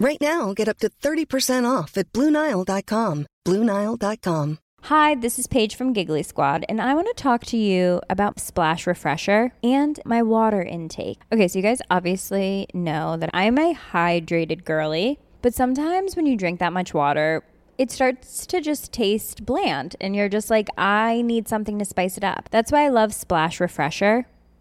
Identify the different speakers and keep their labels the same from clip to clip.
Speaker 1: Right now, get up to 30% off at BlueNile.com. BlueNile.com.
Speaker 2: Hi, this is Paige from Giggly Squad, and I want to talk to you about Splash Refresher and my water intake. Okay, so you guys obviously know that I'm a hydrated girly, but sometimes when you drink that much water, it starts to just taste bland, and you're just like, I need something to spice it up. That's why I love Splash Refresher.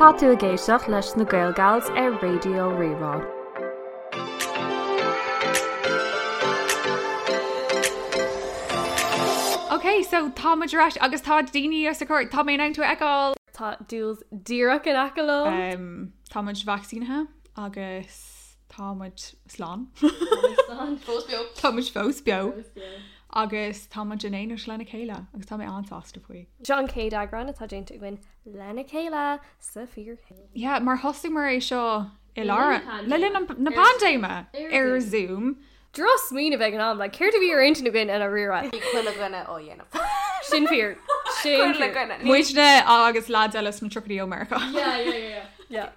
Speaker 3: Tá tú a géisioach leis na ggéilgails ar radio rirá.
Speaker 4: Ok, so táidirráis agus tá daine ar sa chuir tá mé an tú eáil
Speaker 3: Tá dúils díraach in aá
Speaker 4: Táid vaccínathe agus táid slán Táid fós be agus táid in éonar lena chéile agus tá mé antásta faoi.
Speaker 3: John K agran atá déint gin lena chéile sa fír
Speaker 4: Ja, mar hosting mar é seo i lá le linn na pandéime ar zoom.
Speaker 3: Dros mí a bheith an am le céir a bhí ar intin gin an a rira
Speaker 5: chuile gona ó dhéanamh
Speaker 3: sin fír sin
Speaker 5: Chuile gona.
Speaker 4: Muisne agus lá eiles na troí America.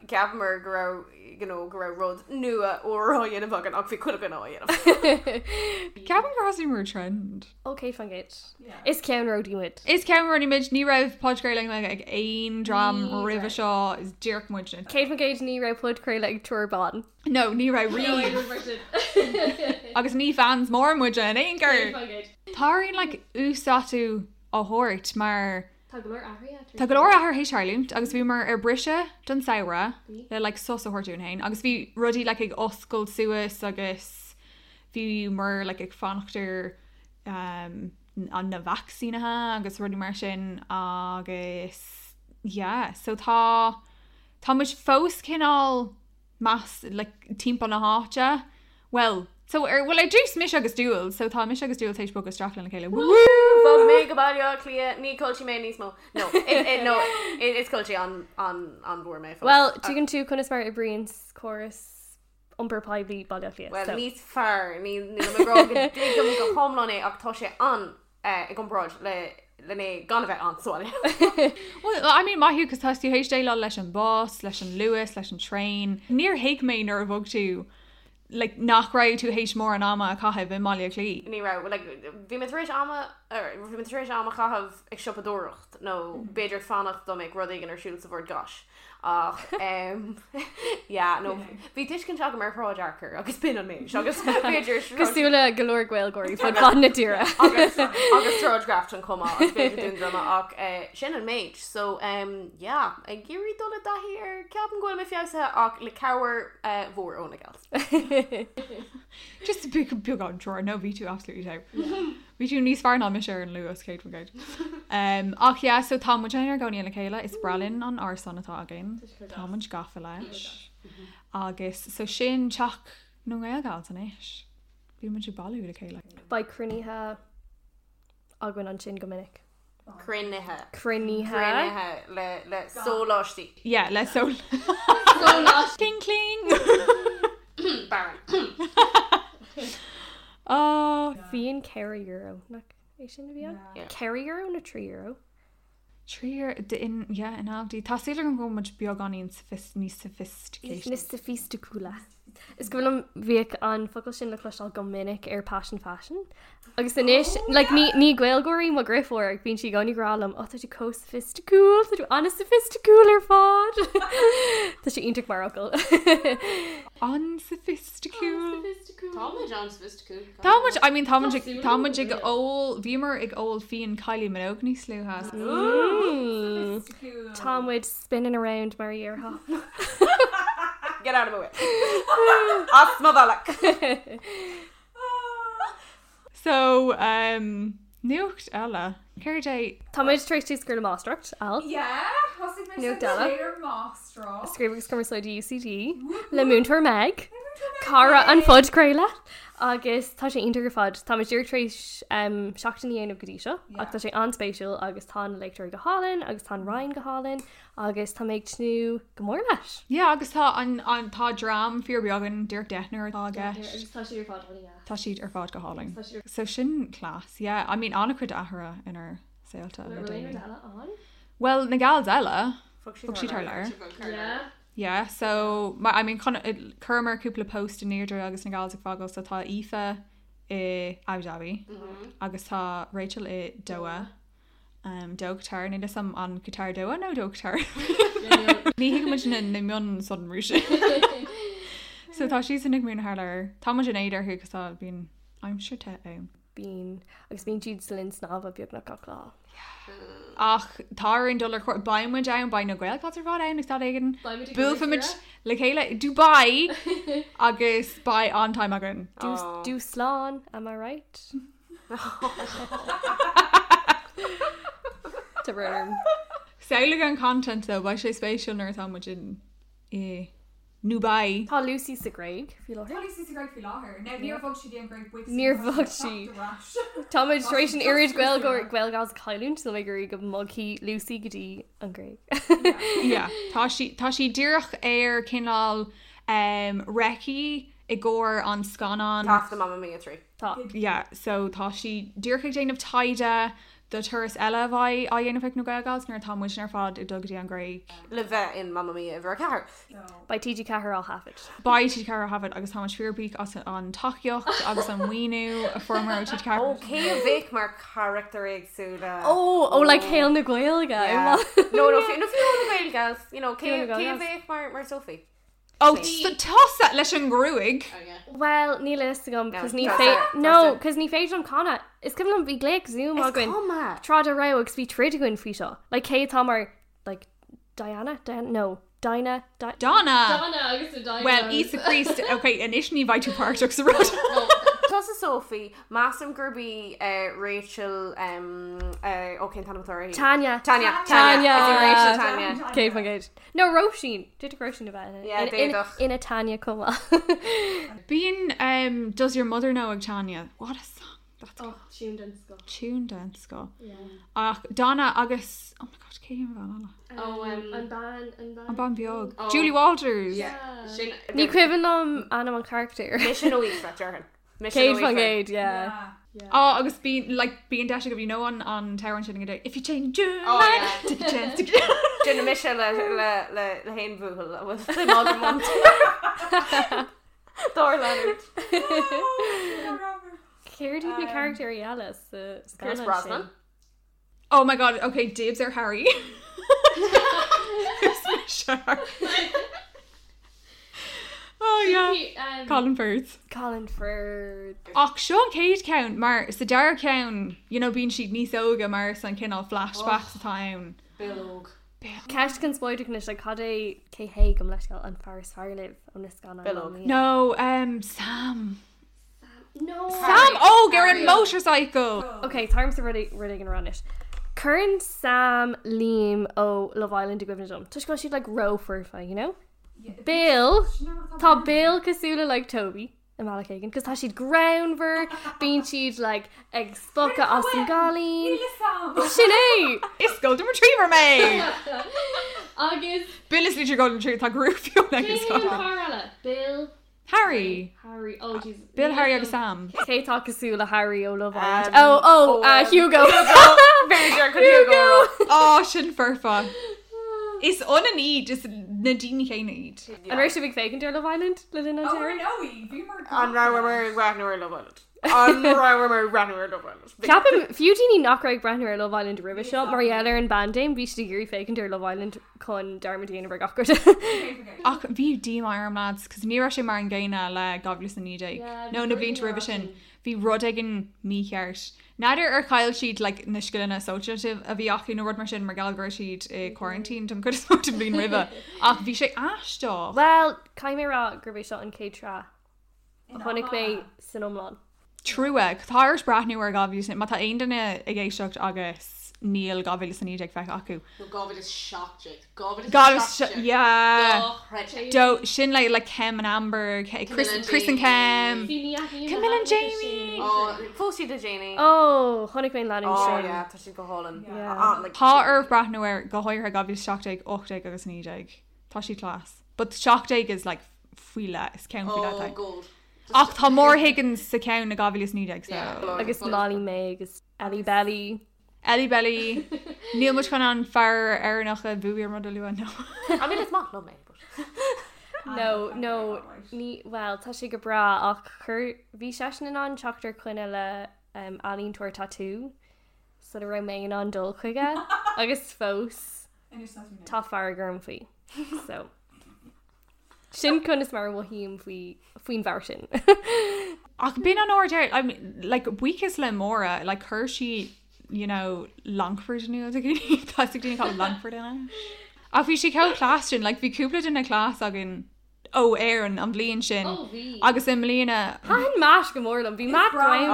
Speaker 5: Gab mar go go rud nua órá dhéanamh an ach bhí chuile gona ó dhéanamh.
Speaker 4: Ceapan crossing mar trend.
Speaker 3: Ok fangéit Is cean rodíid
Speaker 4: Is Cameron image ní rah podgréile le ag aon dram roiimh seo is dearc muine.
Speaker 3: Kate McGage ní ra plod cré le tuaban
Speaker 4: No, ní ra ri agus ní fans mór muide in éongur. Táín le úsatú áthirt mar Tá go áth hééis seirlúmt, agus bhí mar ar brise don saora le le so athirtúnhain, agus bhí rudí le ag oscail suasas agus bhí mar le ag fanachtar um, an na vaccínathe agus rudí mar sin agus yeah, so tá Tá muid fós cinál más le like, timppla na háte? Well, so er, well, I dús mis agus dúil, so tá mis agus dúil teéis bo agus strachan le chéile.
Speaker 5: Fog mé go bailá clia ní coltí mé níos mó. No it- it- no it- it's coltí an an an bhór mé.
Speaker 3: Well tugann tú chuna mar i brions choras umperpaibli badalia
Speaker 5: Well, níos fear ní go hámlané ach tá sé an i gomráid le lené gan bheith ansáile.
Speaker 4: Well, I mean maithú cos tastú hééis dé le leis an bos, leis an Lewis, leis an train. Níor héic mé nar a bhog tú le nach raibh tú hééis mór an ama a caiheh bh maiile lí.
Speaker 5: Ní ra bhí matéis ama bhí matéis ama chahabh ag sipadúcht nó beidir fannacht do méid rudig an ar siúil sa bhór gas. Ach ehm, nó bhí tuis cin teach mar fráidearchar agus pin an mé agus féidir
Speaker 3: Cosúla galoor gweil goirí fod ban na tíra.
Speaker 5: agus agus trograft an komá drama ach eh, sin an méid so um, yeah, ag géirí dola dahíir ceapan goil mé fiasa ach le cehar bhór ónna gas.
Speaker 4: Just bu bu an dro nó ví tú absolú te. Bhí tú níos fear ná me sé an Lewis Kate gaid. Um, ach yeah, so tá mu ar gcóí le chéile is bralinn an ar san atá agin Táid gafa leis agus so sin teach nó ga an éis. Bhí man si balú le chéile.
Speaker 3: Ba cruníthe agan an sin gomininic.
Speaker 5: Crinethe
Speaker 3: Cruníthe
Speaker 5: Crinethe le le sóláistí
Speaker 4: Yeah, le so King cling.
Speaker 5: Baran.
Speaker 4: Oh,
Speaker 3: Bhíon ceir euro nach é sin bhí Ceir euro na trí euro.
Speaker 4: Tríir in yeah, in áí Tá sé an go muid beag ganín sophist ní sophistication.
Speaker 3: Nis a físta coolla. Is go am bhíoh an focail sin le chluáil go minic ar passion fashion. Agus inis le ní ní ghilgóirí má griffóir ag bíon si gáí grálam ó tú có sophisticool tá tú anna sophisticool ar fád. Tá sé intach marcail.
Speaker 4: Unsophisticated.
Speaker 5: Tom John sophisticated.
Speaker 4: Tá muid I mean táid táid ag ó bhímar ag ó fion caiilí manóg ní slúhas.
Speaker 3: Tom would spinning around mar earha.
Speaker 5: Get out of my way. Off my bollock.
Speaker 4: So um nucht eile Ceir é
Speaker 3: Tom would try to screw a maastruct al.
Speaker 6: Yeah, hosig
Speaker 3: No dollar.
Speaker 6: Mastro.
Speaker 3: Screamings comes so UCD. Le Moontor Meg. Cara an fod creile agus tá sé integr fod Tá dúr éis seachtaíanamh godí seo ach tá sé anspéisiúil agus tá leictar go hálinn agus tá Ryan go hálinn agus tá méid snú gomór leis
Speaker 4: Yeah, agus tá an an tá drám fi beaggan Dirk Dehner aige Tá siad ar fád go háling. So sin clás, yeah. I mean anna chud ahra inar saolta le daoine. Well na gal eile Fug si tar leir. Yeah, so ma, I mean chumar cúpla post in néidir agus na gáil fágal sa tá ife i Abudabi agus tá Rachel i doa um, dogtar ní sam an guitar doa nó dogtar Ní mu na na mion son rúise So tá sí sinnig mún háir Tá mu in éidir chugus tá bín I'm sure te um, am.
Speaker 3: bín agus bín siad slinn snáb a beag na calá.
Speaker 4: Ach táinn dul chu baimmuid an bain na ghil tar fád an tá igen bufuid le chéile Dubai agus ba antáim agan.
Speaker 3: Dú sláán am I right? Tá rim.
Speaker 4: Saola an content le bhaid sé spéisiúnar tá mu in eh, i Nubai.
Speaker 3: Tá Lucy sa Greg fi le. Níor
Speaker 6: Níor
Speaker 3: bhfog si. Táid éis an irid ghil go ghilgás caiún sa gurí go mugí Lucy gotí an gré.
Speaker 4: Yeah, Tá si tá si ddíireach ar cinál um, reci i ggóir an scanán.
Speaker 5: Off the Mamma Mia tree.
Speaker 3: Tá
Speaker 4: yeah, so tá si dúrcha déanamh taide do turas eile bhaid a dhéanamh nó gagas nar támuid ar fád i dogadtí an gréig.
Speaker 5: Live in Mamma Mia ever a car.
Speaker 3: Ba TG cehar á hafid.
Speaker 4: Baid si car hafad agus tá fearbíic as an taíocht agus an muoú a formar si car.
Speaker 5: Cé bhéic mar character ag súla.
Speaker 3: Ó ó le chéal oh, na ghil
Speaker 5: Yeah.
Speaker 3: ga
Speaker 5: No, no, fi- no, fi- no, guys. You know,
Speaker 3: Fiona
Speaker 5: cé
Speaker 3: Gales.
Speaker 5: bhéic mar mar Sophie.
Speaker 4: Oh, so tosa leis an grúig.
Speaker 3: Well ní le gom cos ní
Speaker 5: that's
Speaker 3: fé
Speaker 5: it,
Speaker 3: No
Speaker 5: that's it.
Speaker 3: cos ní féidir an canna Is cum an bhí léic zoom a goin
Speaker 5: Mama.
Speaker 3: Trad a ra agus bhí tríide goin fao seo le cé tá mar le Diana Dan no Dina
Speaker 4: Donna.
Speaker 3: Donna
Speaker 4: Well, Isa Priest, okay, and Ishni by two parts of the
Speaker 5: Plus a Sophie, Massam Gerby, uh, Rachel, um, uh, okay, Tanya. Tanya.
Speaker 3: Tanya
Speaker 5: Tanya.
Speaker 3: Tanya.
Speaker 5: Is it Rachel Tanya?
Speaker 3: Cé fan géid. No Rosin Di a grosin
Speaker 5: Yeah,
Speaker 3: bheit
Speaker 5: déadach.
Speaker 3: ina Tanya cumá.
Speaker 4: Being, um, does your mother know of Tanya? What a song. That's oh, tuned in Scott. Tuned in Scott. Yeah. Ach, Donna agus, oh my God, cé an An ban beag. Oh. Julie Walters. Yeah.
Speaker 3: Ní cuian am anam an character.
Speaker 5: Mission Elite, that's Jarhan. Mission
Speaker 3: Cé fan
Speaker 5: Elite.
Speaker 3: géid yeah.
Speaker 4: Oh, agus being like being dashing of you know on on Tower and Shitting a Day. If you change your oh, mind, yeah. take a chance. Take a
Speaker 5: Jenna Mission le le le le hen búhil with the modern month. Thor Leonard. Um,
Speaker 3: Céir dí na character i Alice sa
Speaker 5: Pierce
Speaker 3: Scanlan
Speaker 5: Brosnan.
Speaker 3: sin.
Speaker 4: oh my God. Okay, dibs are Harry. sure. oh yeah. Colin Firth.
Speaker 3: Colin Firth.
Speaker 4: Ach, Sean Cade count, mar sa dar count, you know, being she'd ní soga mar san kin all flashbacks oh. town.
Speaker 3: Ceist gan spóidirnis le cad é céhé go leis an faris fearlib am na scan
Speaker 5: Bilog.
Speaker 4: No, um, Sam.
Speaker 3: No.
Speaker 4: Sam, oh, they're in motorcycle.
Speaker 3: Okay, tarm sa rudi rudi an runis. Current Sam Liam ó Love Island a gwibnadom. Tuis go siad like row furfa, you know? Bill. Tá Bill cosúla like Toby. And Malachagan, because Tashi'd ground her, being she'd like egg spock at Austin Galleen. Sinead!
Speaker 4: It's Golden Retriever, mate.
Speaker 3: Agus
Speaker 4: Bill is literally golden retriever. Tá grúfiú agus.
Speaker 3: Carla Bill
Speaker 4: Harry.
Speaker 3: Harry oh Jesus
Speaker 4: Bill, Harry agus Sam.
Speaker 3: Keitá cosúla Harry ó Love Island
Speaker 5: Um,
Speaker 3: oh oh uh,
Speaker 5: or-
Speaker 3: Hugo
Speaker 5: Beidir chu tú go.
Speaker 4: Oh, sin furfa. Is on a need, just nadine chéine need.
Speaker 3: an rééis big fécinn ar Love Island le in
Speaker 6: Oh,
Speaker 3: Ontario
Speaker 6: Noe, be more
Speaker 5: An Ragnar Ragnar Love Island. An Ragnar Ragnar Love Island.
Speaker 3: Ceapim fiútíí nachraig brenn ar Love Island river seo marhéile an bandéim bís de gurí fécinn ar Love Island chun darmadíana bre gacuirte
Speaker 4: Ach, bhí díom arm lads, cos ní ra sé mar an gaine le goblus na níide. No, na blíon revision. Bhí rudig an míart. Naidir ar chail siad le na scilanna associative a bhí achlí nó rud mar sin mar eh, galgur siad i quarantine dom chud smó blin rive. Ach bhí sé astá.
Speaker 3: Well caiimérá gurbéh seo an cétra chunig mé san omláán.
Speaker 4: Trúe, táir brathnú ar goblus, má tá aon duna i ggéisiocht agus níl goblus na níide feh acu.
Speaker 7: Gobit is shocked. Gobit is
Speaker 4: Goblus,
Speaker 7: shocked.
Speaker 4: yeah.
Speaker 7: Oh, Reggie.
Speaker 4: Do sin le le Kem and Amber, Ke- Chris
Speaker 7: and
Speaker 4: Chris and Kem, Um, Camilla
Speaker 3: Camilla
Speaker 4: and Jamie.
Speaker 5: Oh, Fósí de Janie.
Speaker 3: Oh honnig mé lenin
Speaker 5: Oh,
Speaker 3: seo.
Speaker 5: yeah, tá si go hálan. Ah,
Speaker 3: Yeah.
Speaker 4: Tá ar brathnair go háirthe gabhí seachteigh 8 agus 9 Tá sí clás. But seachteigh is like fuiile is cean
Speaker 7: Oh,
Speaker 4: fuiile.
Speaker 7: gold.
Speaker 4: Ach tá mór higann sa cean na gabhí is 9
Speaker 7: Yeah,
Speaker 4: so.
Speaker 7: blood,
Speaker 3: agus
Speaker 7: blood.
Speaker 3: lálí mé agus Ellie Belly.
Speaker 4: Ellie Belly, níl mu chun an fear ar nach a bhuiir mod luú an nó.
Speaker 5: I mean, it's not love me, but.
Speaker 3: No, no, ní, well, tá sé go bra ach chur bhí seisna an teachtar chuine le um, alíonn tuair tatú so ra mé an dul chuige agus fós tá fargurm faoi so sin chun is mar bhhíim faoi faoin bhar sin
Speaker 4: Ach bin an order, I mean, like weakest Lemora, like her she, you know, Longford knew the guinea, that's the guinea called Longford in it. Ach fi she cael class sin, like fi cúpla in a class agin, oh Aaron, am blian sin. Oh, vi. Agus im bliana,
Speaker 3: Tá más go mórlam bhí má
Speaker 5: Oh,
Speaker 3: braim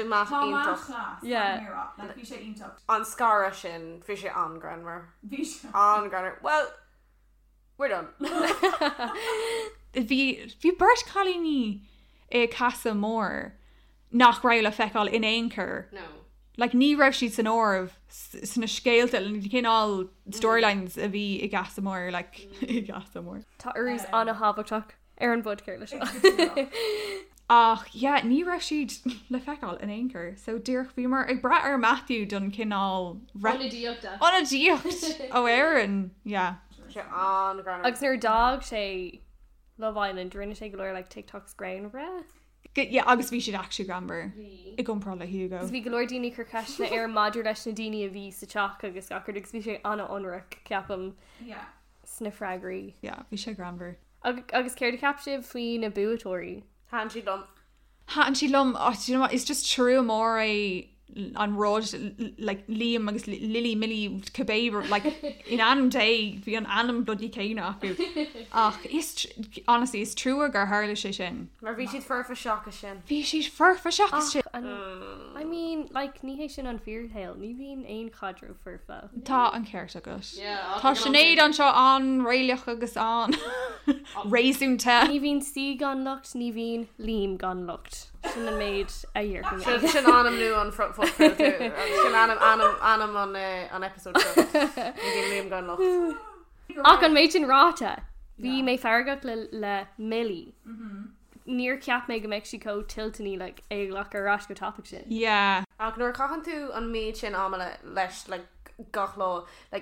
Speaker 5: bhí math ionach.
Speaker 3: Yeah.
Speaker 6: Yeah.
Speaker 5: An scara sin, fi sé an granmar. An granmar. Well, we're done.
Speaker 4: fi, fi bert cali ni e casa mór nach rael a fecal in anchor.
Speaker 7: No.
Speaker 4: Like ni raibh siad san orv, sin a scéalta, and you can all storylines a fi i gasa mór, like, i gasa mór.
Speaker 3: Tá ús anna habachtach ar an bud ceir le seo
Speaker 4: Ach, yeah, ní raibh siad le feicáil in anchor, so dúrch bhí mar ag brat ar Matthew don cinál
Speaker 7: Diopta.
Speaker 4: On a díocht ó Aaron, yeah.
Speaker 5: Sé an granmar.
Speaker 3: agus nuair dag sé Love Island rinne sé go leir le tiktoks grain breath.
Speaker 4: G- yeah, agus bhí siad actually grambar. I gom pro le Hugo.
Speaker 3: Bhí golóir daoine chu ceisna ar madidir leis na daine a bhí sa teach agus gachargus bhí sé anna onraach ceapam snifraigraí.
Speaker 4: Yeah, bhí sé grambar.
Speaker 3: Ag- Agus céir de capsib faoin na buatóirí.
Speaker 5: Han si dom.
Speaker 4: Ha, and she lum, oh, do you know what, it's just true more a on road like Liam agus Li- Lily Millie Cababer like in anum day bhí an anum bloody cane acu ach is tr- honestly is true gur harle sé sin
Speaker 5: Mar bhí siad fur fa seacha sin.
Speaker 4: bhí siad furfa seach sin
Speaker 3: an- I mean, like, ní hééis sin an fearthail, ní bhíon aon cadro furfa.
Speaker 4: Tá an ceir agus.
Speaker 7: Yeah.
Speaker 4: Tá sinnéad an seo an réileach agus an réún te.
Speaker 3: Ní bhíon si gan locht, ní bhíon líam gan locht. Sin na méid a dhearchan.
Speaker 5: Sin anam nu an front foot. Sin anam, anam, anam on, uh, on episode two. Ní liam gan loch.
Speaker 3: Ach an méid sin ráta. Bhí mé fergat le le millí. Níor ceap mé go meic si có tiltaní le ag lech arás go tappa sin.
Speaker 4: Yeah.
Speaker 5: Ach nuair chachan tú an méid sin amala leis le gach lá le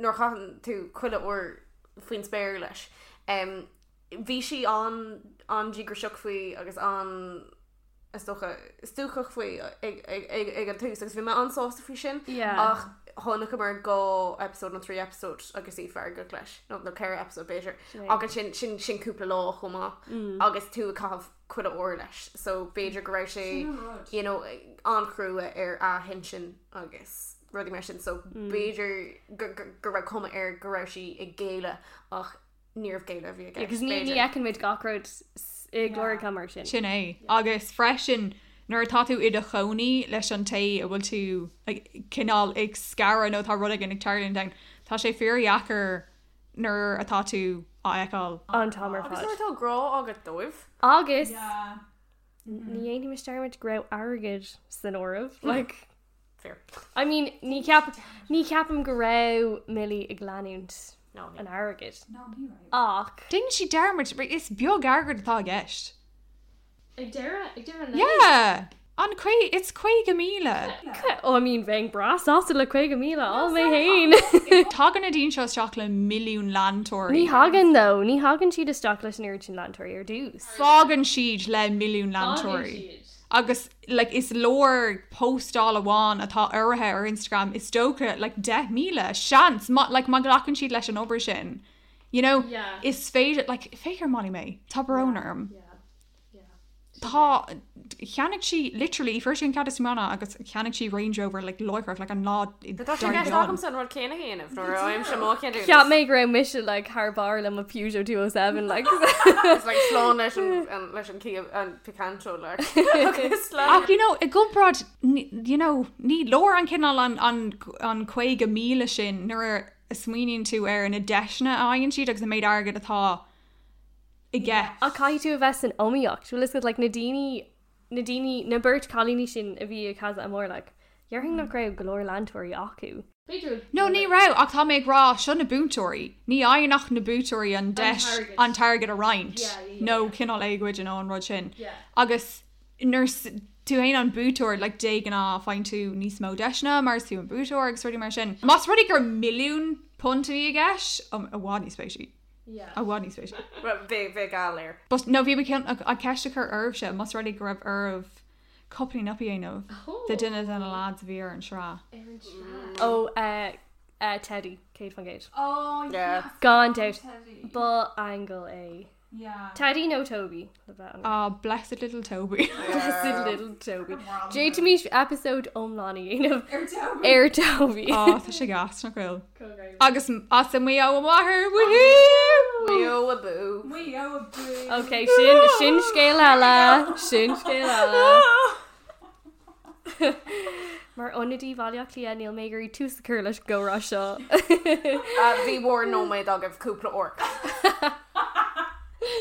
Speaker 5: nuair chachan tú chuile ó faoin spéir leis. Um, Bhí si an an ddígur seach faoi agus an stocha stúchach faoi ag ag- ag ag an túús agus bhí me ansásta faoi sin
Speaker 3: Yeah.
Speaker 5: ach tháinacha mar go episód na trí episód agus í fear go leis nó nó ceir episód béidir agus sin sin sinúpla lá chumá agus tú a caih chuid ó leis so béidir go raibh sé you know, ancrúa ar a hen sin agus rudí mar sin so béidir gur- gur gur raibh cuma ar go raibh si i ggéile ach níomh géile bhí aige.
Speaker 3: Agus ní ní
Speaker 5: Béidir.
Speaker 3: ecin méid gacróid i glóir cam mar sin.
Speaker 4: Sin é. Agus freisin nuair atá tú iad a choní leis an ta a bhfuil tú like, cinál ag scara nó tá ruda an ag Charlieon den. Tá sé fearheachar nuair atá tú á eáil.
Speaker 3: An tamar
Speaker 5: Agus
Speaker 3: fad.
Speaker 5: nuair tá grá agad dóibh
Speaker 3: Agus ní éanaine me starmid grou agad san ormh like
Speaker 5: fear.
Speaker 3: I mean ní ceap ní ceapam go ra millí i gláúnt
Speaker 5: No,
Speaker 3: an agad.
Speaker 6: No, you're right.
Speaker 3: Ach.
Speaker 4: Didn't she dermid but it's beag agad atá gist.
Speaker 7: Ag dara, ag dara na.
Speaker 4: Yeah. An quai it's quai gamíle.
Speaker 3: ó mín bheith bras á le chuig go míle á mé hain.
Speaker 4: Tágan a dín seo seach le milliún
Speaker 3: Ní
Speaker 4: landtóirí.
Speaker 3: hagan nó, ní hagan siad is sta leis an iri sin landtóirí ar dús.
Speaker 4: Fágan siad le milliún landtóirí. agus like is lór postála bháin atá uirithe ar Instagram is dócha like 10 míle seans má like má ghlachann siad leis an obair sin. You know,
Speaker 7: Yeah.
Speaker 4: is féidir like féidir mí mé tá barónarm. Tá cheannic si literally fir sin cadmana agus cheannic si Range Rover like loicrah like an lá
Speaker 5: Dagam san rud céna héanamh nó roiim sem mó céidir.
Speaker 3: Ceap mé raibh mission le carbar le a Peugeot 207 le
Speaker 5: It's like slán leis an- an- leis an cí an picantro le. Agus
Speaker 4: Ach,
Speaker 5: slán.
Speaker 4: you know, a good broad, you know, ní lór an cinál an, an, an quaig a míle sin nuair a smíonn tú ar na deisna a aonn siad agus a méid agad atá i gceist.
Speaker 3: a cai tú a bheits an omíocht, bhfuil is le na daine na daine na burt cholíní sin a bhí a casa a mór le. Dhearing nach raibh golóir landtóirí acu.
Speaker 7: Pedro.
Speaker 4: No, ní ra ach tá méid rá se na bútóirí. Ní aonach na bútóirí an deis
Speaker 7: target.
Speaker 4: an target a reinint.
Speaker 7: Yeah, yeah,
Speaker 4: No cinál éigid an an rud sin.
Speaker 7: Yeah.
Speaker 4: Agus nurse tú é an bútóir le dé gan á fáin tú níos mó deisna mar tú an bútóir agus ruí mar sin. Mas rudig gur milliún puntaí a gceis um, a bhád ní spéisi.
Speaker 7: Yeah.
Speaker 4: A bhád ní spéisi.
Speaker 5: Big big galir.
Speaker 4: But no bhí cean a ceiste chu orh se, mas rudig gur orh coppla napi éanamh.
Speaker 7: Oh.
Speaker 4: The dinner an a lads bhíar an srá.
Speaker 7: Aaron Shroud.
Speaker 3: ó eh, eh, Teddy Kate van Gate.
Speaker 6: Oh,
Speaker 5: Yeah.
Speaker 6: yeah.
Speaker 3: Gone doubt.
Speaker 6: Teddy.
Speaker 3: Bull angle A.
Speaker 6: Yeah.
Speaker 3: Teddy no Toby. Love that one.
Speaker 4: Ah, blessed little Toby.
Speaker 3: Blessed little Toby. Jay to me episode Omlani of
Speaker 6: Or Toby.
Speaker 3: Air Toby.
Speaker 4: Tá sé gas na gril. Agus as sem mé á amhair woohoo!
Speaker 5: Yo a boo.
Speaker 6: We owe a boo.
Speaker 3: Okay, Shin Shin scale ala. Shin scale ala. Mar onadí bhaileach lí Neil Magerí tú sa cur leis go ra seo.
Speaker 5: Uh, Bhí war nó méid agah cúpla orc.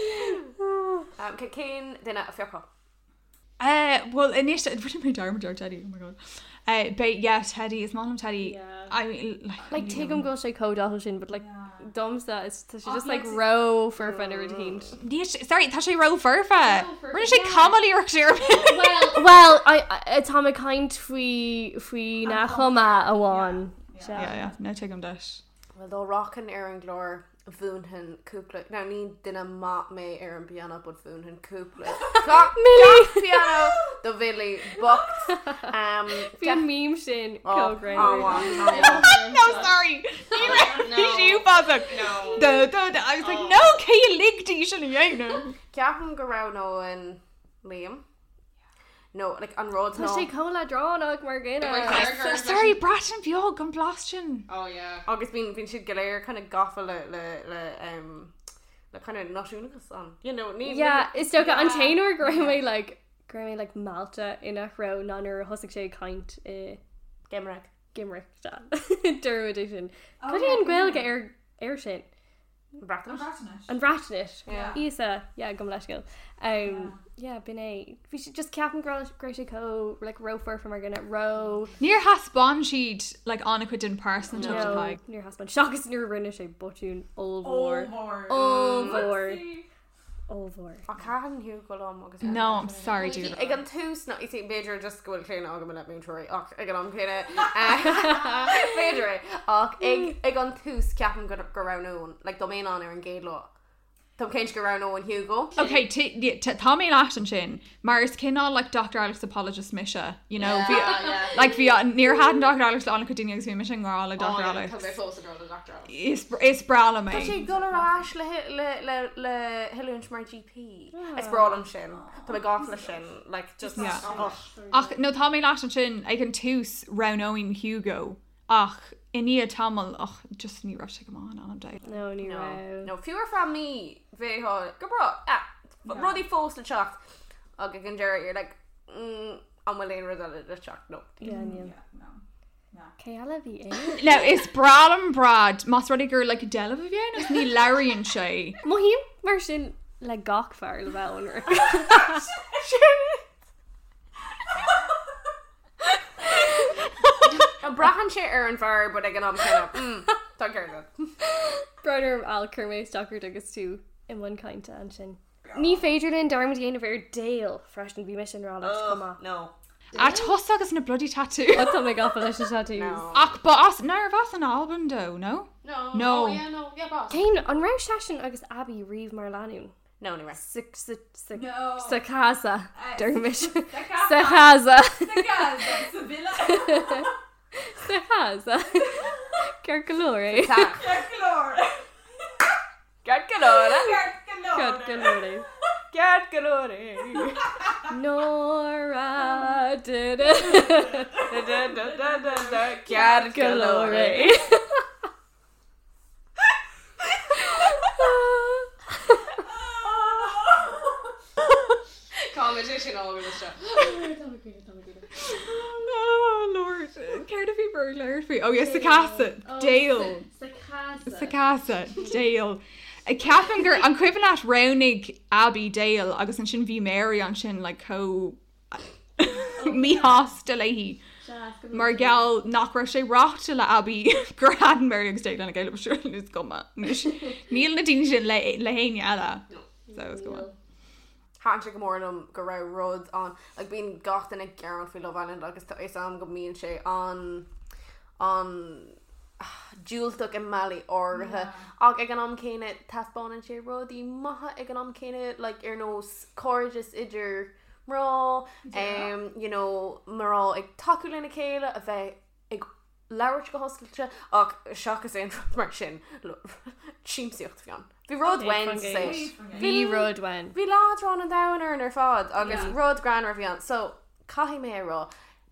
Speaker 5: Um, Ca céin duine a fiocha.
Speaker 4: Uh, well, inis bhuiim mé darm dar Teddy, oh my god. Uh, but yeah, Teddy is mom Teddy.
Speaker 7: Yeah.
Speaker 4: I mean, like,
Speaker 3: Like take him go sé codáil sin, but like domsa is she just like
Speaker 6: Obviously.
Speaker 3: row for a fender retained.
Speaker 4: Níos, sorry, tá sé ro furfa.
Speaker 7: Ro furfa,
Speaker 4: Rinne sé
Speaker 7: yeah.
Speaker 4: comedy or sure.
Speaker 7: Well,
Speaker 3: Well, I atá a kind fao fao nach chuma a bháin.
Speaker 4: Yeah, yeah, no take him dash.
Speaker 5: Well dó rockan ar an glór bhúnhan cúpla. Ná ní duine má mé ar an piano bud bhúnhan cúpla. Cock piano do bhili bocht. Um,
Speaker 3: Bhí mím sin
Speaker 5: oh,
Speaker 3: cógrain.
Speaker 5: oh, wow, oh,
Speaker 4: No, sorry. He's you, Father. No. Da, da, da. I was like, no, Kay Lig, do you shouldn't, you know.
Speaker 5: Ceapan go ra nó an Liam. No, like an Rhodes
Speaker 3: Tá sé
Speaker 5: nó.
Speaker 3: cola dránach mar gine.
Speaker 4: Sorry, Bratton Bjorg, I'm blasting.
Speaker 7: Oh yeah.
Speaker 5: Agus bín bín siad galéir kind of gafa le le le um le kind of nasúnagus an. You know, ní.
Speaker 3: Yeah, is do an tainor gromé like gromé like Malta ina ro nanar hosig sé kaint i
Speaker 5: Gamerag.
Speaker 3: gimrick Dur edition. Cudí an ghil get ar air sin
Speaker 5: Bracknach.
Speaker 3: an ratnit
Speaker 5: Yeah.
Speaker 3: Isa yeah gom leisgil. Um yeah bin é vi si just cap Gracia Co like rofer from ar gonna row.
Speaker 4: Near has bond she'd like Annika didn't person no.
Speaker 3: No,
Speaker 4: like
Speaker 3: Níor husband Seachas nuair rinne sé botún
Speaker 6: Oh,
Speaker 3: óhór
Speaker 6: Lord.
Speaker 3: óhór óhór.
Speaker 5: A cahan hiú go am agus.
Speaker 4: No, I'm sorry, dude.
Speaker 5: Ag an tús ná isí Beiidir just gohfuil chéine agam le mútóirí ach ag an chéine Uh, féidir ach ag ag an tús ceapan go go ranún, le do méán ar an géad lá. Tá céint go ranóin hiúgo
Speaker 4: Okay, t- yeah, t- Tommy Lashton Shin, Mars Kinall like Dr. Alex apologist Misha, you know,
Speaker 7: Yeah, Oh,
Speaker 4: via,
Speaker 7: yeah.
Speaker 4: like via near had Dr. Alex Annika didn't use Misha or all of
Speaker 7: Oh,
Speaker 4: Dr.
Speaker 7: yeah,
Speaker 4: Alex.
Speaker 7: because they're supposed to go to Dr. Alex.
Speaker 4: It's it's Brala
Speaker 5: Tá sé
Speaker 4: me.
Speaker 5: goráis le hi- le le le heún mar GP. Is bralam sin Tá gá lei sin le just
Speaker 4: Yeah.
Speaker 7: Oh,
Speaker 5: ach.
Speaker 4: Ach no Tommy Lashton Shin, I can toos round Owen Hugo. Ach inia Tamal, ach just need rush to come on on day.
Speaker 3: No ní
Speaker 5: No,
Speaker 3: ra.
Speaker 5: no fewer from me very hard go bro ah but Roddy falls the chalk okay can Jerry you're like mm, I'm willing to the chalk no
Speaker 3: Ke ala vi é?
Speaker 4: No, it's Brala and Brad. Mas Rodiger like Della Vivian, it's me Larry and Shay.
Speaker 3: Mo hí mar sin le gach fear le bheir.
Speaker 5: a brahan shit Aaron fire but I get on kind of mm, Tá gar.
Speaker 3: Brider alcurméis dochar agus tú i bhain caiinte an sin. Ní féidirlinn darmad dhéana bhar déal freis an bhí me sin rá
Speaker 5: Oh.
Speaker 3: comá.
Speaker 5: No.
Speaker 4: A toss agus na bloody tattoo.
Speaker 3: Tá mé gafa leis se tú.
Speaker 5: No.
Speaker 4: Ach ba as nar vas an album do, no?
Speaker 7: No.
Speaker 4: No.
Speaker 7: Oh, yeah, no. Yeah, boss.
Speaker 3: Cain an ra sesin agus abí riomh mar leún.
Speaker 5: No, anyway.
Speaker 6: No.
Speaker 3: Oh. sa casa dermis
Speaker 6: casa.
Speaker 3: sa casa
Speaker 6: Guys, Sevilla.
Speaker 3: sa casa Car golóir
Speaker 6: Lord.
Speaker 5: Gad galore.
Speaker 3: God golóir
Speaker 5: Gad galore.
Speaker 3: Nora did it
Speaker 5: Gad galore.
Speaker 3: golóir
Speaker 7: Competition all over the show.
Speaker 4: Oh Lord, Care to be burglar for Oh yes, the cassette. Dale.
Speaker 7: Sa casa.
Speaker 4: Sa casa, Dale. A capangur an cuibanat ronig Abbey Dale agus an sin bhí Mary an sin le co mí hásta leihí. Mar gal nach ra sé ráta le Abbey gur had Mary agus Dale an gaile siú is goma. Níl na daine sin le lehéine eile. So it's going.
Speaker 5: Hanse go mór am go ra rud an ag bíon gatain ag garan fi Love Island agus tá is am go míon sé an an dúúlach in meí áthe uh, ag ag an am céine taspáin sé rud í maithe ag an am céine le ar nó choirgus idir Um, mrá marrá ag takeúlína chéile a bheith ag leirt go hoscailte ach seachas é mar sin tíimsíocht gan. Bhí rud wein sé.
Speaker 3: Bhí rud wein
Speaker 5: Bhí lárán an danar ar fád agus rud gran ar bhíán, so caihí mé rá.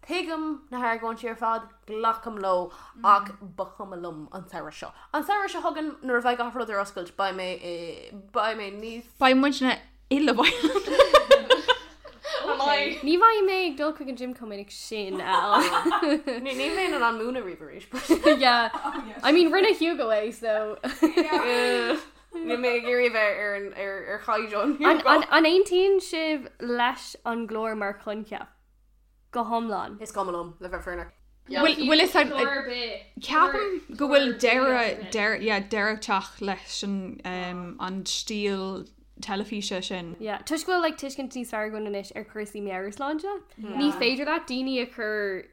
Speaker 5: Tuigem na hair gáin tíar fad glacham lo ach bachamlum an saoire seo. An saoire se hagan nuair bheith gafrod ar oscailt ba mé eh, ba mé níos
Speaker 4: Ba muine ile bhaile.
Speaker 3: Ní bhaid mé ag dul chuig an Jim cominic sin á.
Speaker 5: ní ní mé an an múna riéis
Speaker 3: Yeah. I mean rinne Hugo way so
Speaker 5: ní mé gurí bheith ar an- ar ar
Speaker 3: an, an,
Speaker 5: chaidjón
Speaker 3: an 18 sib leis an glór mar chunce go homlán
Speaker 5: Is gomlum le bheith fearna.
Speaker 4: Will- will it sound-
Speaker 7: Orbit.
Speaker 4: Ceapan go bhfuil deire deireteach leis an um, an stíl telefíe sin.
Speaker 3: yeah. tuis gohfuil like, tuiscin tí sargon inis ar chuí mearlája ní féidir le daine a chur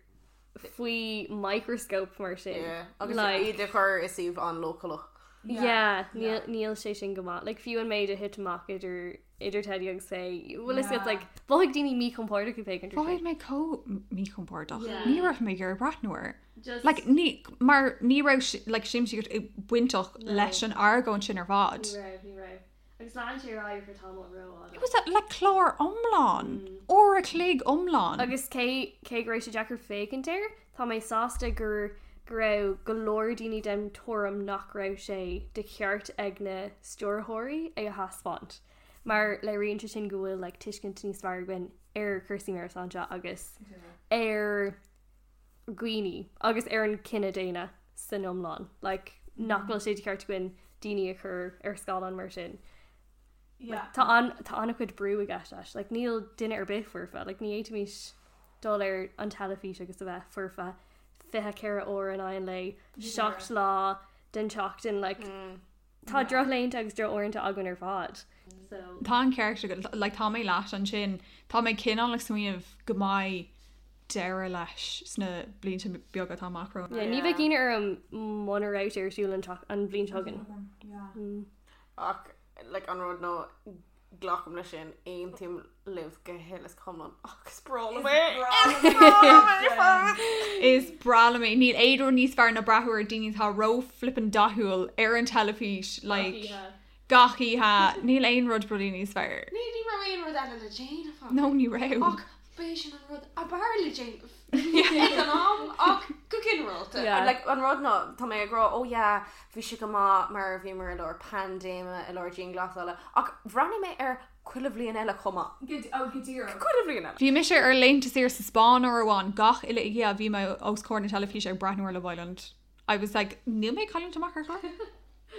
Speaker 3: faoi microscope mar sin
Speaker 5: agus
Speaker 3: Like-
Speaker 5: idir chur is sih an localch.
Speaker 3: yeah níl níl sé sin goá like fiú an méid a hit amach idir idir teddy agus sé bhfuil is like bhig daoine mí compórta go
Speaker 4: Fáid
Speaker 3: fé
Speaker 4: mé có mí compórtach.
Speaker 7: Yeah.
Speaker 4: Ní rah mé gur bratnoir.
Speaker 7: Just-
Speaker 4: Like, ní mar ní rah si- like, sim si buintach leis an argón sin ar bvád.
Speaker 7: Right, right. Agus lá sé ráir for Tom Rowan.
Speaker 4: Was that le chlár omláán ó a clé omláán
Speaker 3: agus cé cé éis sé Jackar fécinir Tá mé sásta gur grou golódaoine den tom nach ra sé de ceart ag na stúrthirí ag a haspáint. Mar le rionanta sin gohfuil le like, tuiscin níos farhain ar chusaí mar sanja agus ar gwine agus ar an cinena déine san omláán, le nachfuil sé de ceart goin daine a chur ar scáán mar sin.
Speaker 6: Yeah.
Speaker 3: Tá an tá anna chud brú a gasis, le níl duine ar beh furfa, le ní éimiis dóir an talafí agus a bheith furfa fithe ceire ó an aon le secht lá den techt in le
Speaker 6: Mm.
Speaker 3: Tá drochléint agus dro orintanta agan er ar fád.
Speaker 4: Tá an ceir le tá mé leis an sin Tá mé cinán le smoíomh gomáid deire leis sna blinta beaga tá macro.
Speaker 3: Ja ní bheith cíine ar an mráit ar siú er an bblin tugan.
Speaker 5: ach like an rud nó glacham na sin aon tíim libh go hélas cumlan agus sprála mé
Speaker 4: is brala mé níl éidir níos fear na brathúir daoine tá ro flippan dathúil ar an telefís le gachií ha níl aon rud brolí níos fear.
Speaker 7: Nídí mar mé rud eile le Jane fá.
Speaker 4: No ní ra
Speaker 7: Ach, béis an rud a bar le Jane. Ag an am, ach, go cin rulta.
Speaker 3: Yeah.
Speaker 5: le an rud nó tá mé agrá ó ja bhí si go má mar bhí mar leir pandéma i leir dín glasála ach bhranna mé ar chuileh líon eile chumá
Speaker 6: Good. Oh, Gadira.
Speaker 5: chuileh líon eile
Speaker 4: Bhí me sé ar leonnta sé sa Spáin ó bháin gach ile ige a bhí me os cór na telefís ar Brathúir le bhland. I was like ní mé caiintach chu?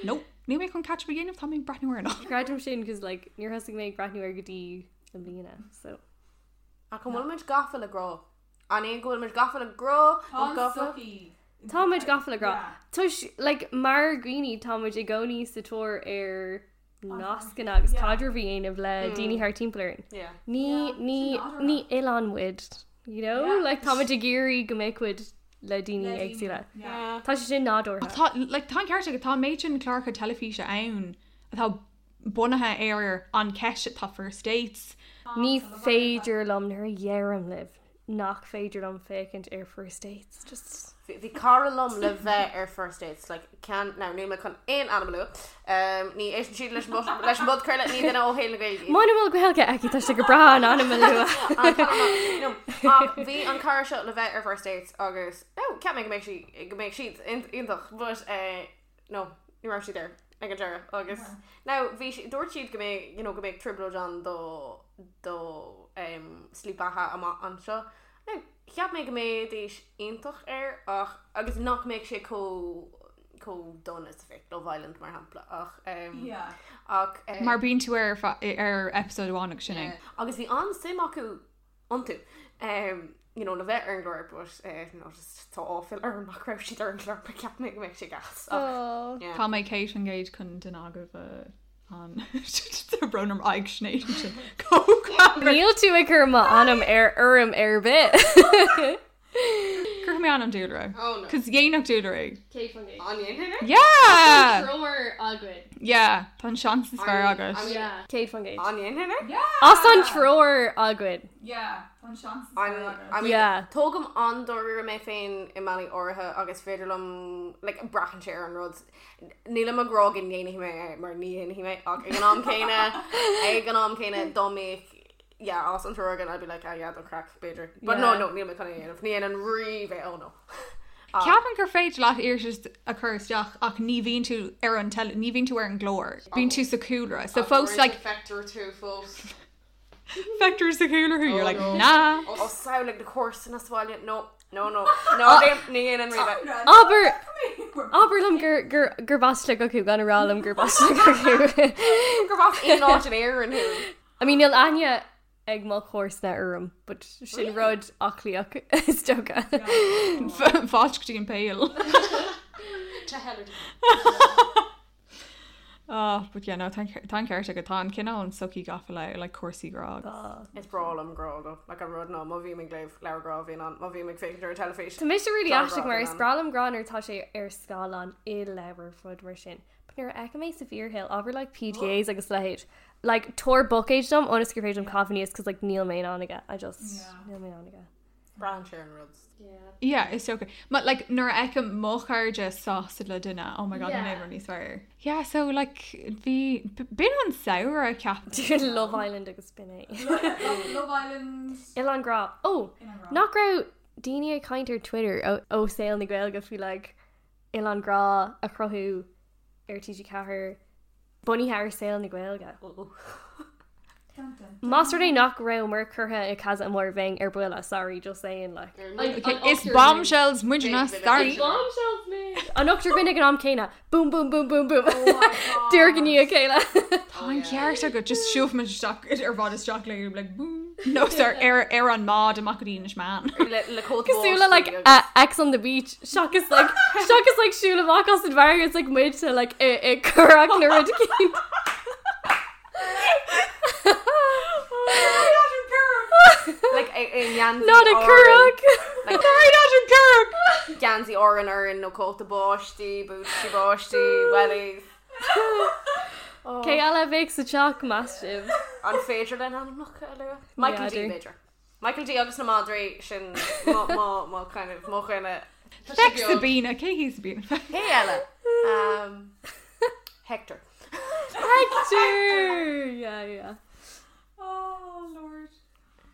Speaker 4: No, ní mé chun catch begéanamh tá mé brathúir nach.
Speaker 3: Gradim sin gus le níor hasig mé brathniú ar gotí an blina so.
Speaker 5: a chu bhfuil muid gafa le grá an éon ghfuil muid gafa le grá
Speaker 6: Tom Sucky.
Speaker 3: Táid gafla gra. Tuis le mar gwine táid i gcóní satóir ar nácan agus tádra bhíon ah le daoine thar timpplairn.
Speaker 5: Mm. Yeah.
Speaker 3: Ní ní ní Iánhuiid, le táid i géirí go méidcuid le daoine agsúile.
Speaker 5: Yeah.
Speaker 3: Tá sé sin nádor.
Speaker 4: Tá like, tá ceirte go tá méidin clarcha telefíe ann atá bunathe éir an ceise tá first dates.
Speaker 3: Ní féidir lom ar dhéarm libh nach féidir an fécinint ar first States just
Speaker 5: Bhí carlumm le bheith ar first dates like, can ná nu me chun in animalú um, ní é si leis mu- leis mud chuile ní den óhéil gaige.
Speaker 3: Manil gohilge aici tá sé go bra an anime lua.
Speaker 5: Bhí an car seo le bheith ar first dates agus ce mé mé si go méid siad intach bus nó ní ra si ar ag an deire agus. Ná bhí dúir siad go mé go méid triblo an do do um, slípathe am an seo. Ná, Ceap mé go méid éis intach ar ach agus nach méid sé có có donna fé do bhhailent mar hapla ach um,
Speaker 6: Yeah.
Speaker 5: ach um,
Speaker 4: Mar bíon tú ar fa- ar episode bháinach sinna.
Speaker 5: agus bhí an sim acu antu Um, you know, le bheith ar an glóir bush tá áfil ar nach raibh si ar an glóir pe ceap mé mé sé gas Ach, yeah.
Speaker 4: Tá mé Kate an Gage chun den agah an bronam aig snéid sin Cógur
Speaker 3: Níl tú ag chu má anm ar orm ar bit.
Speaker 4: mé an an dúra
Speaker 5: Oh, no.
Speaker 4: cos dhéanaach dúra.
Speaker 5: Onion hinner?
Speaker 4: Yeah
Speaker 3: Thrower agrid.
Speaker 4: yeah Tá sean is fear agus
Speaker 3: Yeah. Kate Fungate.
Speaker 5: Onion hinner?
Speaker 6: Yeah.
Speaker 3: Os an thrower agrid.
Speaker 6: Yeah. An chance.
Speaker 5: I mean,
Speaker 3: Yeah.
Speaker 5: Tógam an doir mé féin i meí orthe agus féidirlum le like, brachan sé an rud. Níla a grog in dhéana mé mar níon hí mé ach ag an am céine ag an am céine domé yeah, as an thugan I'd be like, oh, yeah, don't crack beidir. But yeah. no,
Speaker 3: Yeah.
Speaker 5: no, níl me chunaanamh níon an ri bheith ó no. uh,
Speaker 4: Ceapan gur féit leat irs a chusteach ach ní bhíon tú ar an tele ní bhíon tú ar an glór. Bhín
Speaker 5: Oh.
Speaker 4: tú sa coolra so fós like
Speaker 5: factor two folks.
Speaker 4: factor sa cooler who you're like nah
Speaker 5: Oh, sound like the course in Australia. No, no, no, no, níon an ri
Speaker 3: Oh,
Speaker 5: bheith.
Speaker 3: Aber Aberlum gur gur gur basta goku gan rálum gur basta goku.
Speaker 5: Gur bh in á an air an hu.
Speaker 3: I mean il anya ag má chós na orm, but sin rod acliach stoga.
Speaker 5: Oh.
Speaker 4: fátí an peil. Oh, but yeah, no, tan ceirte go tá cinná an soí gafa le le cuasaí grá.
Speaker 5: It's brawl am growl though. Like I'm running on my V McGlaive, Laura Gravin on my V McFake or
Speaker 3: Tá
Speaker 5: television.
Speaker 3: mis ri
Speaker 5: Tá
Speaker 3: astig
Speaker 5: rá
Speaker 3: mar
Speaker 5: an
Speaker 3: is
Speaker 5: am.
Speaker 3: bralam granar tá sé ar sáán i lewer fud mar sin. Pnar ag mé sa fearhill over like PDAs agus leid. Like tor bookagedom on ascriptum coffee is because like Neil Main oniga. I just Neil Main oniga.
Speaker 5: Brian Sharon Rhodes.
Speaker 4: Yeah, is okay. But like nuair eice móchairde sásta le duine Oh ó me gan
Speaker 3: Yeah.
Speaker 4: éhar níos fear. Yeah, so like bhí b- bin an saoir a ceap.
Speaker 3: Dude, Love Island agus bin é.
Speaker 6: Love Island.
Speaker 3: Ilan Gra. Oh, knock out Dina Kinder Twitter. Oh, oh sail na gael go fi like Ilan Gra a crohu RTG Cahir. Bunny Harris sail na gael go. Master day knock round where Kurha Ikaza and more vang er buela. Sorry, just saying like.
Speaker 4: Okay, it's bombshells muinna
Speaker 5: Big
Speaker 4: starry.
Speaker 3: Bombshells me. An octar bin ag an am Kena. Boom, boom, boom, boom, boom. Dear Gania Kayla.
Speaker 4: Táin ceirte go just siúh me ar bhád is straach le like boom. No sir, ar ar an mád amachchaíis man.
Speaker 5: Uh,
Speaker 3: Kasula like uh, X on the beach. Shock is like shock is like Shula Vakos and Varga. It's like mid to like a a Kurak Naradiki.
Speaker 5: Oh like a, a Yanzi
Speaker 3: Not a Kurak.
Speaker 5: Like- oh
Speaker 3: Sorry,
Speaker 5: Yanzi Oran are in no coat the Boshti, Bootsy
Speaker 3: Mm.
Speaker 5: Boshti, Wellies.
Speaker 3: not a Kurak. Kayla makes a chalk massive.
Speaker 5: On Phaedra then I'm not Michael
Speaker 3: Yeah,
Speaker 5: D.
Speaker 3: I do.
Speaker 5: Phaedra. Michael D. August Namadri, Shin, Mo, Mo, Mo, kind of, Mo, kind of.
Speaker 4: Feck Sabina, cé hí Sabina.
Speaker 5: Hey, Ella. Um, Hector.
Speaker 3: Hector. yeah, yeah.
Speaker 6: Oh lord.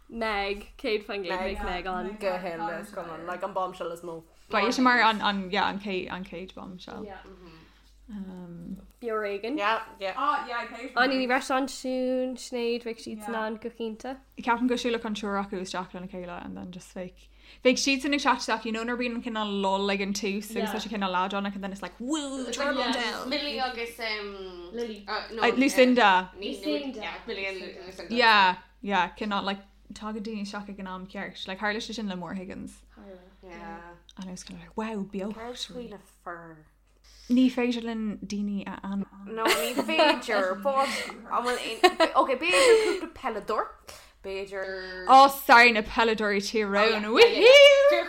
Speaker 3: Meg, Kate Fungate,
Speaker 5: Meg.
Speaker 3: make Meg on.
Speaker 5: Go ahead, let's come on. Like, I'm bombshell as Mo.
Speaker 4: Ba is mar an an yeah, an cage an cage bombshell.
Speaker 3: Yeah.
Speaker 4: Um,
Speaker 3: Bioregan.
Speaker 5: Yeah, yeah.
Speaker 6: Oh yeah. Okay.
Speaker 3: On any restaurant soon, Sinead, Rick Sheets,
Speaker 6: Yeah.
Speaker 3: Nan, Gukinta.
Speaker 4: Capan go siúla an túach agus Jacqueline and Kayla and then just fake. Fake sheets in chatach, you know, nor being kind of lol like in two, so
Speaker 3: Yeah.
Speaker 4: yeah. such a kind of lad on it, and then it's like woo, turn yeah. down.
Speaker 5: Lily August um Lily uh, no,
Speaker 4: Uh, Lucinda.
Speaker 5: Lucinda yeah, Lily and Lucinda
Speaker 4: Yeah, yeah, cannot like. Tagadini Shaka Ganam Kirsch, like Harlish is in Lamore Higgins.
Speaker 5: yeah
Speaker 4: And I was kind of like, wow, be
Speaker 5: Carswheel of fur.
Speaker 4: Ní féidirlinn daine a an.
Speaker 5: No, I mean Bajor, but I will. Okay, Bajor cooked a pelador. Bajor.
Speaker 4: Ó saoir Oh, na peladóí tí ran
Speaker 5: Fair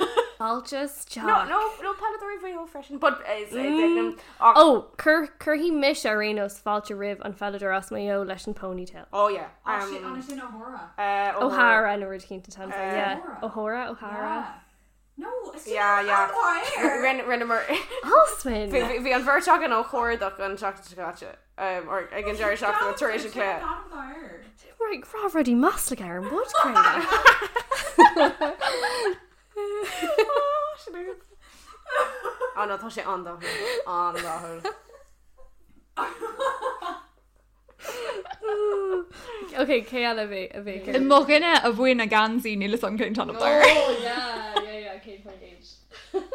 Speaker 4: Rob
Speaker 3: Balchas John.
Speaker 5: No, no, no pelador very old fashioned, but it's um, it's
Speaker 3: Oh, Cur Curhi Mish Arenos Falcha Riv on Falador Osmayo Leshen Ponytail.
Speaker 5: oh yeah.
Speaker 6: Actually,
Speaker 5: Um,
Speaker 6: honestly, no horror.
Speaker 5: uh,
Speaker 3: O'Hara and Original Tanzania. Yeah. O'Hara, O'Hara.
Speaker 6: Yeah. No, it's
Speaker 5: Yeah, yeah.
Speaker 6: yeah.
Speaker 5: Ren, Renamur.
Speaker 3: Osman.
Speaker 5: Bhí an bhar teach an ó choirach an seachtete Um, or ag an deir seach an tuéis an clé.
Speaker 3: Right, Rob Ruddy Maslach Aaron Wood. Craig.
Speaker 5: An tá sé an an
Speaker 3: Okay, Kayla Vick. Vick.
Speaker 4: Mo gine a bhfuin a gansaí nílas an cin tan bar.
Speaker 3: Oh, yeah, yeah, yeah, Kate Point Age.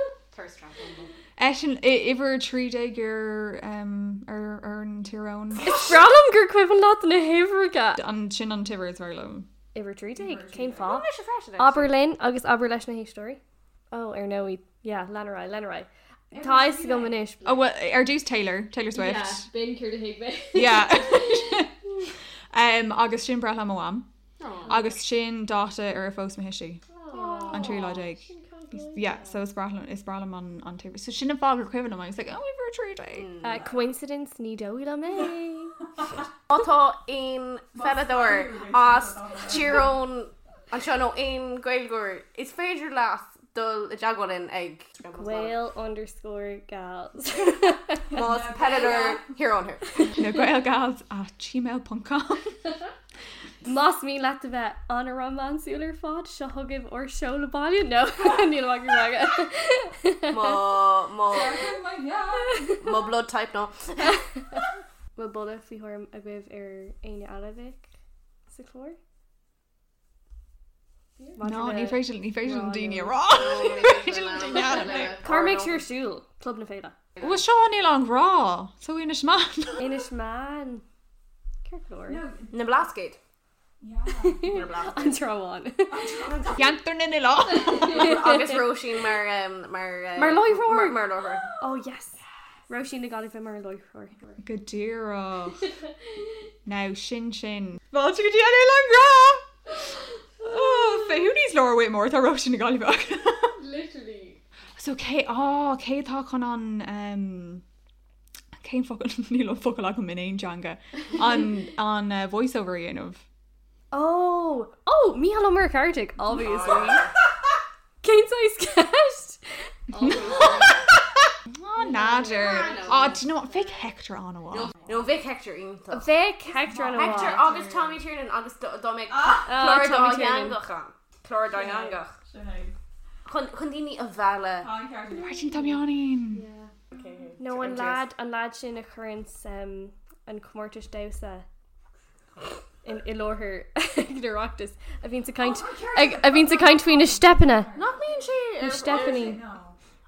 Speaker 4: É sin i bhar trídé gur ar ar an tirón.
Speaker 3: Bralum gur cuivan lot na heverga.
Speaker 4: An sin an tibhar is bhar lom.
Speaker 3: Iver tree take, Kane Fall.
Speaker 5: freis
Speaker 3: Aberlin, agus Aberlesh na history. Oh, er no, we, yeah, Lanarai, Lanarai. Tais to go manish.
Speaker 4: Oh, well, ar dús Taylor, Taylor Swift.
Speaker 3: Ben Cure to Higbe.
Speaker 4: Yeah. um, agus sin breth am am. Agus sin dáta ar a fós mahiisi. An trí lá déag. Yeah, so is bralam is bralam an an tibhar. So sin an fágur cuihan am agus like, oh, we've a trídé.
Speaker 3: Uh, coincidence, ni do ila me.
Speaker 5: Atá on fedor as tíírón an seo nó on gailgúir. Is féidir las dul i deagháin ag
Speaker 3: Whale underscore gals.
Speaker 5: Má pedador hirónir.
Speaker 4: Na gail gails a gmail.com.
Speaker 3: Mas me let the vet on a Roman Suler fod, Shahogiv or Sholabalia. No, Neil Walker Maga.
Speaker 5: Má má
Speaker 6: Yeah.
Speaker 5: má blood type ná.
Speaker 3: Mae bwyd fi hwyr a gwyf ar ein alafig. Sy'n clwyr?
Speaker 4: No, ní féidir ní féidir an daine rá.
Speaker 3: Car makes your shoe. Club na feila.
Speaker 4: Bhfuil seo ní an rá, so ina smán.
Speaker 3: Inish man. Cerclor.
Speaker 5: Na blascéid.
Speaker 3: And throw on.
Speaker 4: Geantar na lá.
Speaker 5: agus roisin mar um, mar uh,
Speaker 3: Mar Lloyd Roar.
Speaker 5: mar lover.
Speaker 3: Oh, yes. Roshi na gael i fy mar loi ffwr.
Speaker 4: Go dtíra. Ná sin sin. Bhil tú go dtí an an rá. Oh, féúníos leirhfuid mór tá roisin na gáilbach.
Speaker 3: Literally.
Speaker 4: So ah, cé á cé tá chun an um, céim fo níl fo le go minéon teanga an an uh, voiceover dhéanamh.
Speaker 3: Oh. Oh, mi hello Mark Arctic, obviously. Kane's ice cast.
Speaker 4: Á náidir á tú nó fé hector an bháil.
Speaker 5: No Vic Hector ínta.
Speaker 3: Vic Hector on a
Speaker 5: Hector oh,
Speaker 3: wall.
Speaker 5: agus Tommy Tiernan agus do- Dominic Chlór
Speaker 3: Tommy
Speaker 5: Doingach an. Chlór Doingach. Chun chun daoine a
Speaker 4: Ah.
Speaker 5: bhela.
Speaker 4: Martin Damianin.
Speaker 3: No, an lad, an lad sin occurrence um, an comortish dausa in Ilorher Gnaroctus. I've been to kind, I've been to kind tween a Stepana.
Speaker 5: Nach míon sé
Speaker 3: An Stephanie.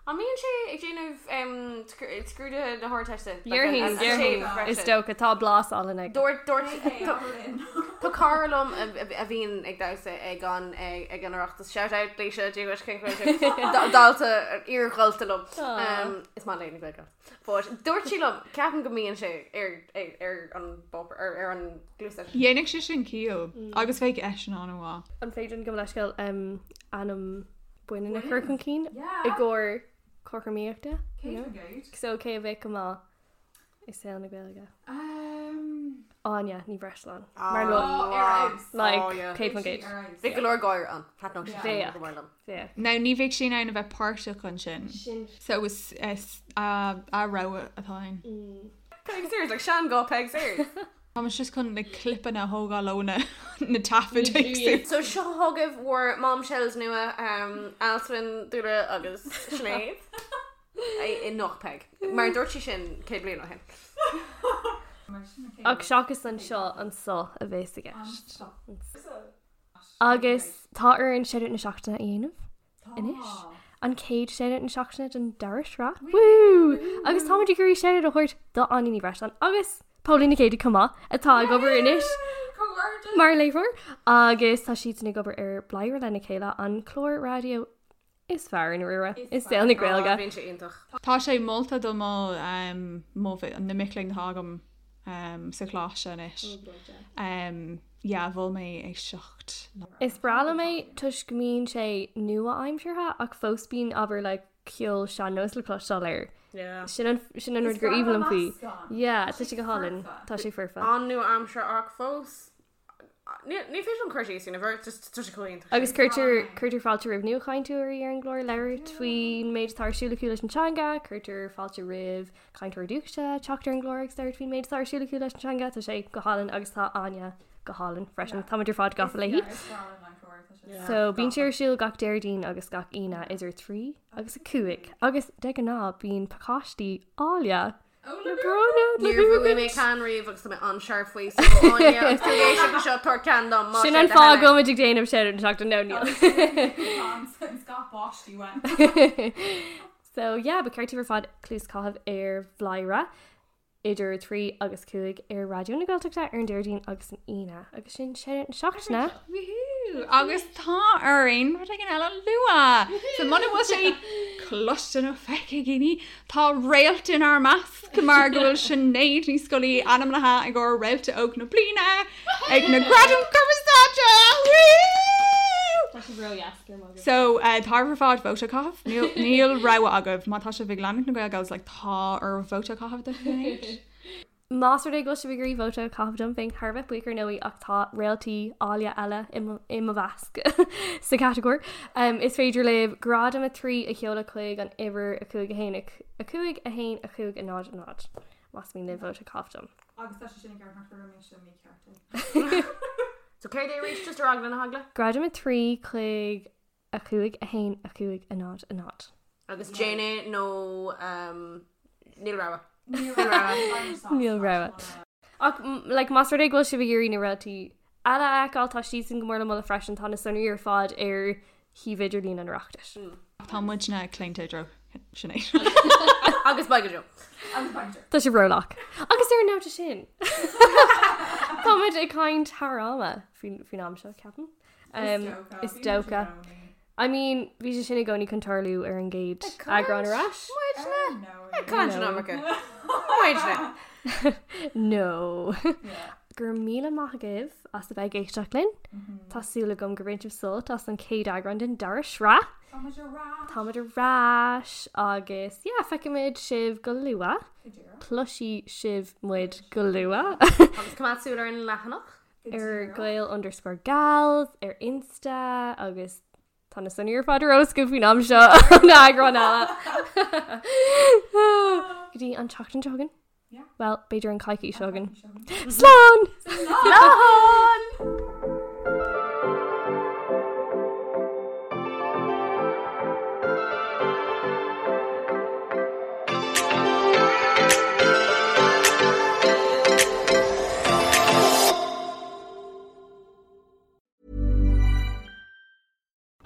Speaker 5: an míon sé ag déanamh scrúide na háirteiste.
Speaker 3: Yerhin, Yerhin is stoke a tall blast all in egg.
Speaker 5: Dúir dúir Tá carlam a bhíon ag dasa ag an ag anreaachtas seout lééis sé dúis dalta ar iarghiltalm Is má léana go. Dúirt sílam ceapan go mííonn sé ar ar- ar an er, bob er, ar ar an glúsa.
Speaker 4: Dhéananig sé sin cío agus féh é an an bháil.
Speaker 3: An feidrin gymlashgal um anam buin in a curcum keen. Yeah. Igor corcamiacta. So okay vic amal. Is sail na gwelga. Anya ni breshlan. Marlo. Like Kate Mungate.
Speaker 5: Bhí golóir gáir an Tá sé
Speaker 3: Yeah.
Speaker 5: go bhlam.
Speaker 3: Yeah.
Speaker 4: Ná ní bhéh sin an a bheith páirte chun sin. So was uh, ará atáin.
Speaker 5: Pegs ir le sean gá pegs ir.
Speaker 4: Tá just chun na clipan na hógá lona na tafa.
Speaker 5: So seo thugah mhór mám shells um, nua Alwin dúra agus snéad. I nach peg. Mar dúirtí sin cé blion á hen.
Speaker 3: Ag seachas an seo an só a bhés aige. Agus tá ar an séidir na seachtainna aanamh inis. An céad séidir an seachtainna an dairrá. Woo! Agus táidir gurí séidir a chuirt do aní bres an agus Paulína céad cumá atá gobar inis. Mar leifhar agus tá siad na gobar ar blair lena chéile an chlór radio Is fear in rura. Is still na grélga.
Speaker 5: Ah, Bhíonn sé intach.
Speaker 4: Tá sé molta do má mó an nimicling hágam um, saláise is. Ja bhil Um, mé ag secht.
Speaker 3: Is brala mé tuis gomín sé nua aimimseirtha ach fósbín aber le ceol seannos le cloisáir. Sin an sin an gur íbal an faoi. Ja, tá si go hálan tá sé furfa.
Speaker 5: An nu am seo ach fós. Ní fi an chuirí sin bhar tu sé chuint.
Speaker 3: Agus chuirtir chuirtir fáilte rih nua caiintú ar ar an glóir leir trín méid tarsúlaúla antanga, chuirtir fáilte rih caiintú dúcha, teachtar an glóir agsteir fin méid tarsúlaúla antanga tá sé go hálan agus tá aine go hálan freisin tamidir fád gafa le hí. So bín siir siúil gach déirdín agus gach ina is ar trí agus a cuaic agus de an ná bín paáistí ália
Speaker 5: Níor bhfuil mé
Speaker 3: sin
Speaker 5: can riomh agus mé anseir faoi seo tar can
Speaker 3: an fá go muidir déanamh sé an teach an nóí. So yeah, ba ceirtíar fád clús cáhabh ar bhlaire idir trí agus cuaig ar radioúna gáilteachta ar an deirdín agus an ina agus sin sé an seachna.
Speaker 4: agus tá aon mar an eile lua. Sa muna bhil sé cloan ó feice gine Tá réaltain ar mas go mar gohfuil sinnéad ní scoí anam lethe ag go réilte óg na blina ag na gradam chutáte. So táhar fád bóta cáh níl rah agah mátá se bh lenig na go agus le tá ar bóta cáhabh de.
Speaker 3: Más é go se bhgurí bóta cáhdom féin Harbh buar nóí achtá réaltí ália eile im a bhasc sa categór. Um, is féidir leh grad am a trí a cheola chuig an ihar a chuig a héananig a chuig a héin a chuig a nád a nád. Mas mí le bóta cáhdom.
Speaker 5: So céir é rééis just rag an hagla.
Speaker 3: Grad am a trí chuig a chuig a héin a chuig a nád a nád.
Speaker 5: Agus Jane um, nó níl ra.
Speaker 3: Níl ra. Ach le más é go si bhgurí na réaltí eile agáiltá sí san gomórla mla freisin tána sanna ar fád ar híhéidir lín an reachtas.
Speaker 4: Tá muidna cléintedro sinnééis.
Speaker 5: Agus bag jo.
Speaker 3: Tá sé brolach. Agus ar náta sin. Táid i cáin tarrála fin am seo ceapan. Um, Is doca. I mean, bhí sé sinna gcóí contarlú ar er an géad agrán ras?
Speaker 5: Concha. Áidna.
Speaker 3: No. Gur míle maithagah as a bheith géisteach linn, Tásúla gom gorintim sul as an céad agran den dar sra. Táidir ráis agus yeah, feicimiid sibh go luúa, Plusí sibh muid go luúa
Speaker 5: Cumú ar an lechanach?
Speaker 3: ar gail underscore gals ar insta agus tána sanníar fáidir os go fhí am seo na agran eile. Gotí an teachtain tegan? Well, beidir an caiici segan. Slán!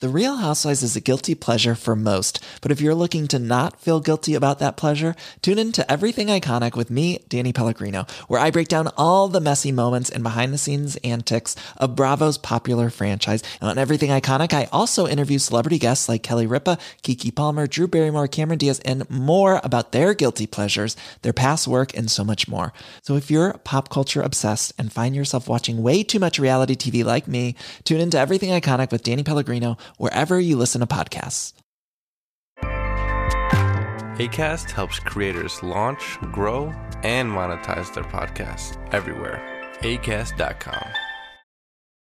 Speaker 8: The Real Housewives is a guilty pleasure for most, but if you're looking to not feel guilty about that pleasure, tune in to Everything Iconic with me, Danny Pellegrino, where I break down all the messy moments and behind the scenes antics of Bravo's popular franchise. And on Everything Iconic, I also interview celebrity guests like Kelly Ripa, Kiki Palmer, Drew Barrymore, Cameron Diaz, and more about their guilty pleasures, their past work, and so much more. So if you're pop culture obsessed and find yourself watching way too much reality TV like me, tune in to Everything Iconic with Danny Pellegrino wherever you listen to podcasts.
Speaker 9: ACAST helps creators launch, grow, and monetize their podcasts everywhere. ACAST.com.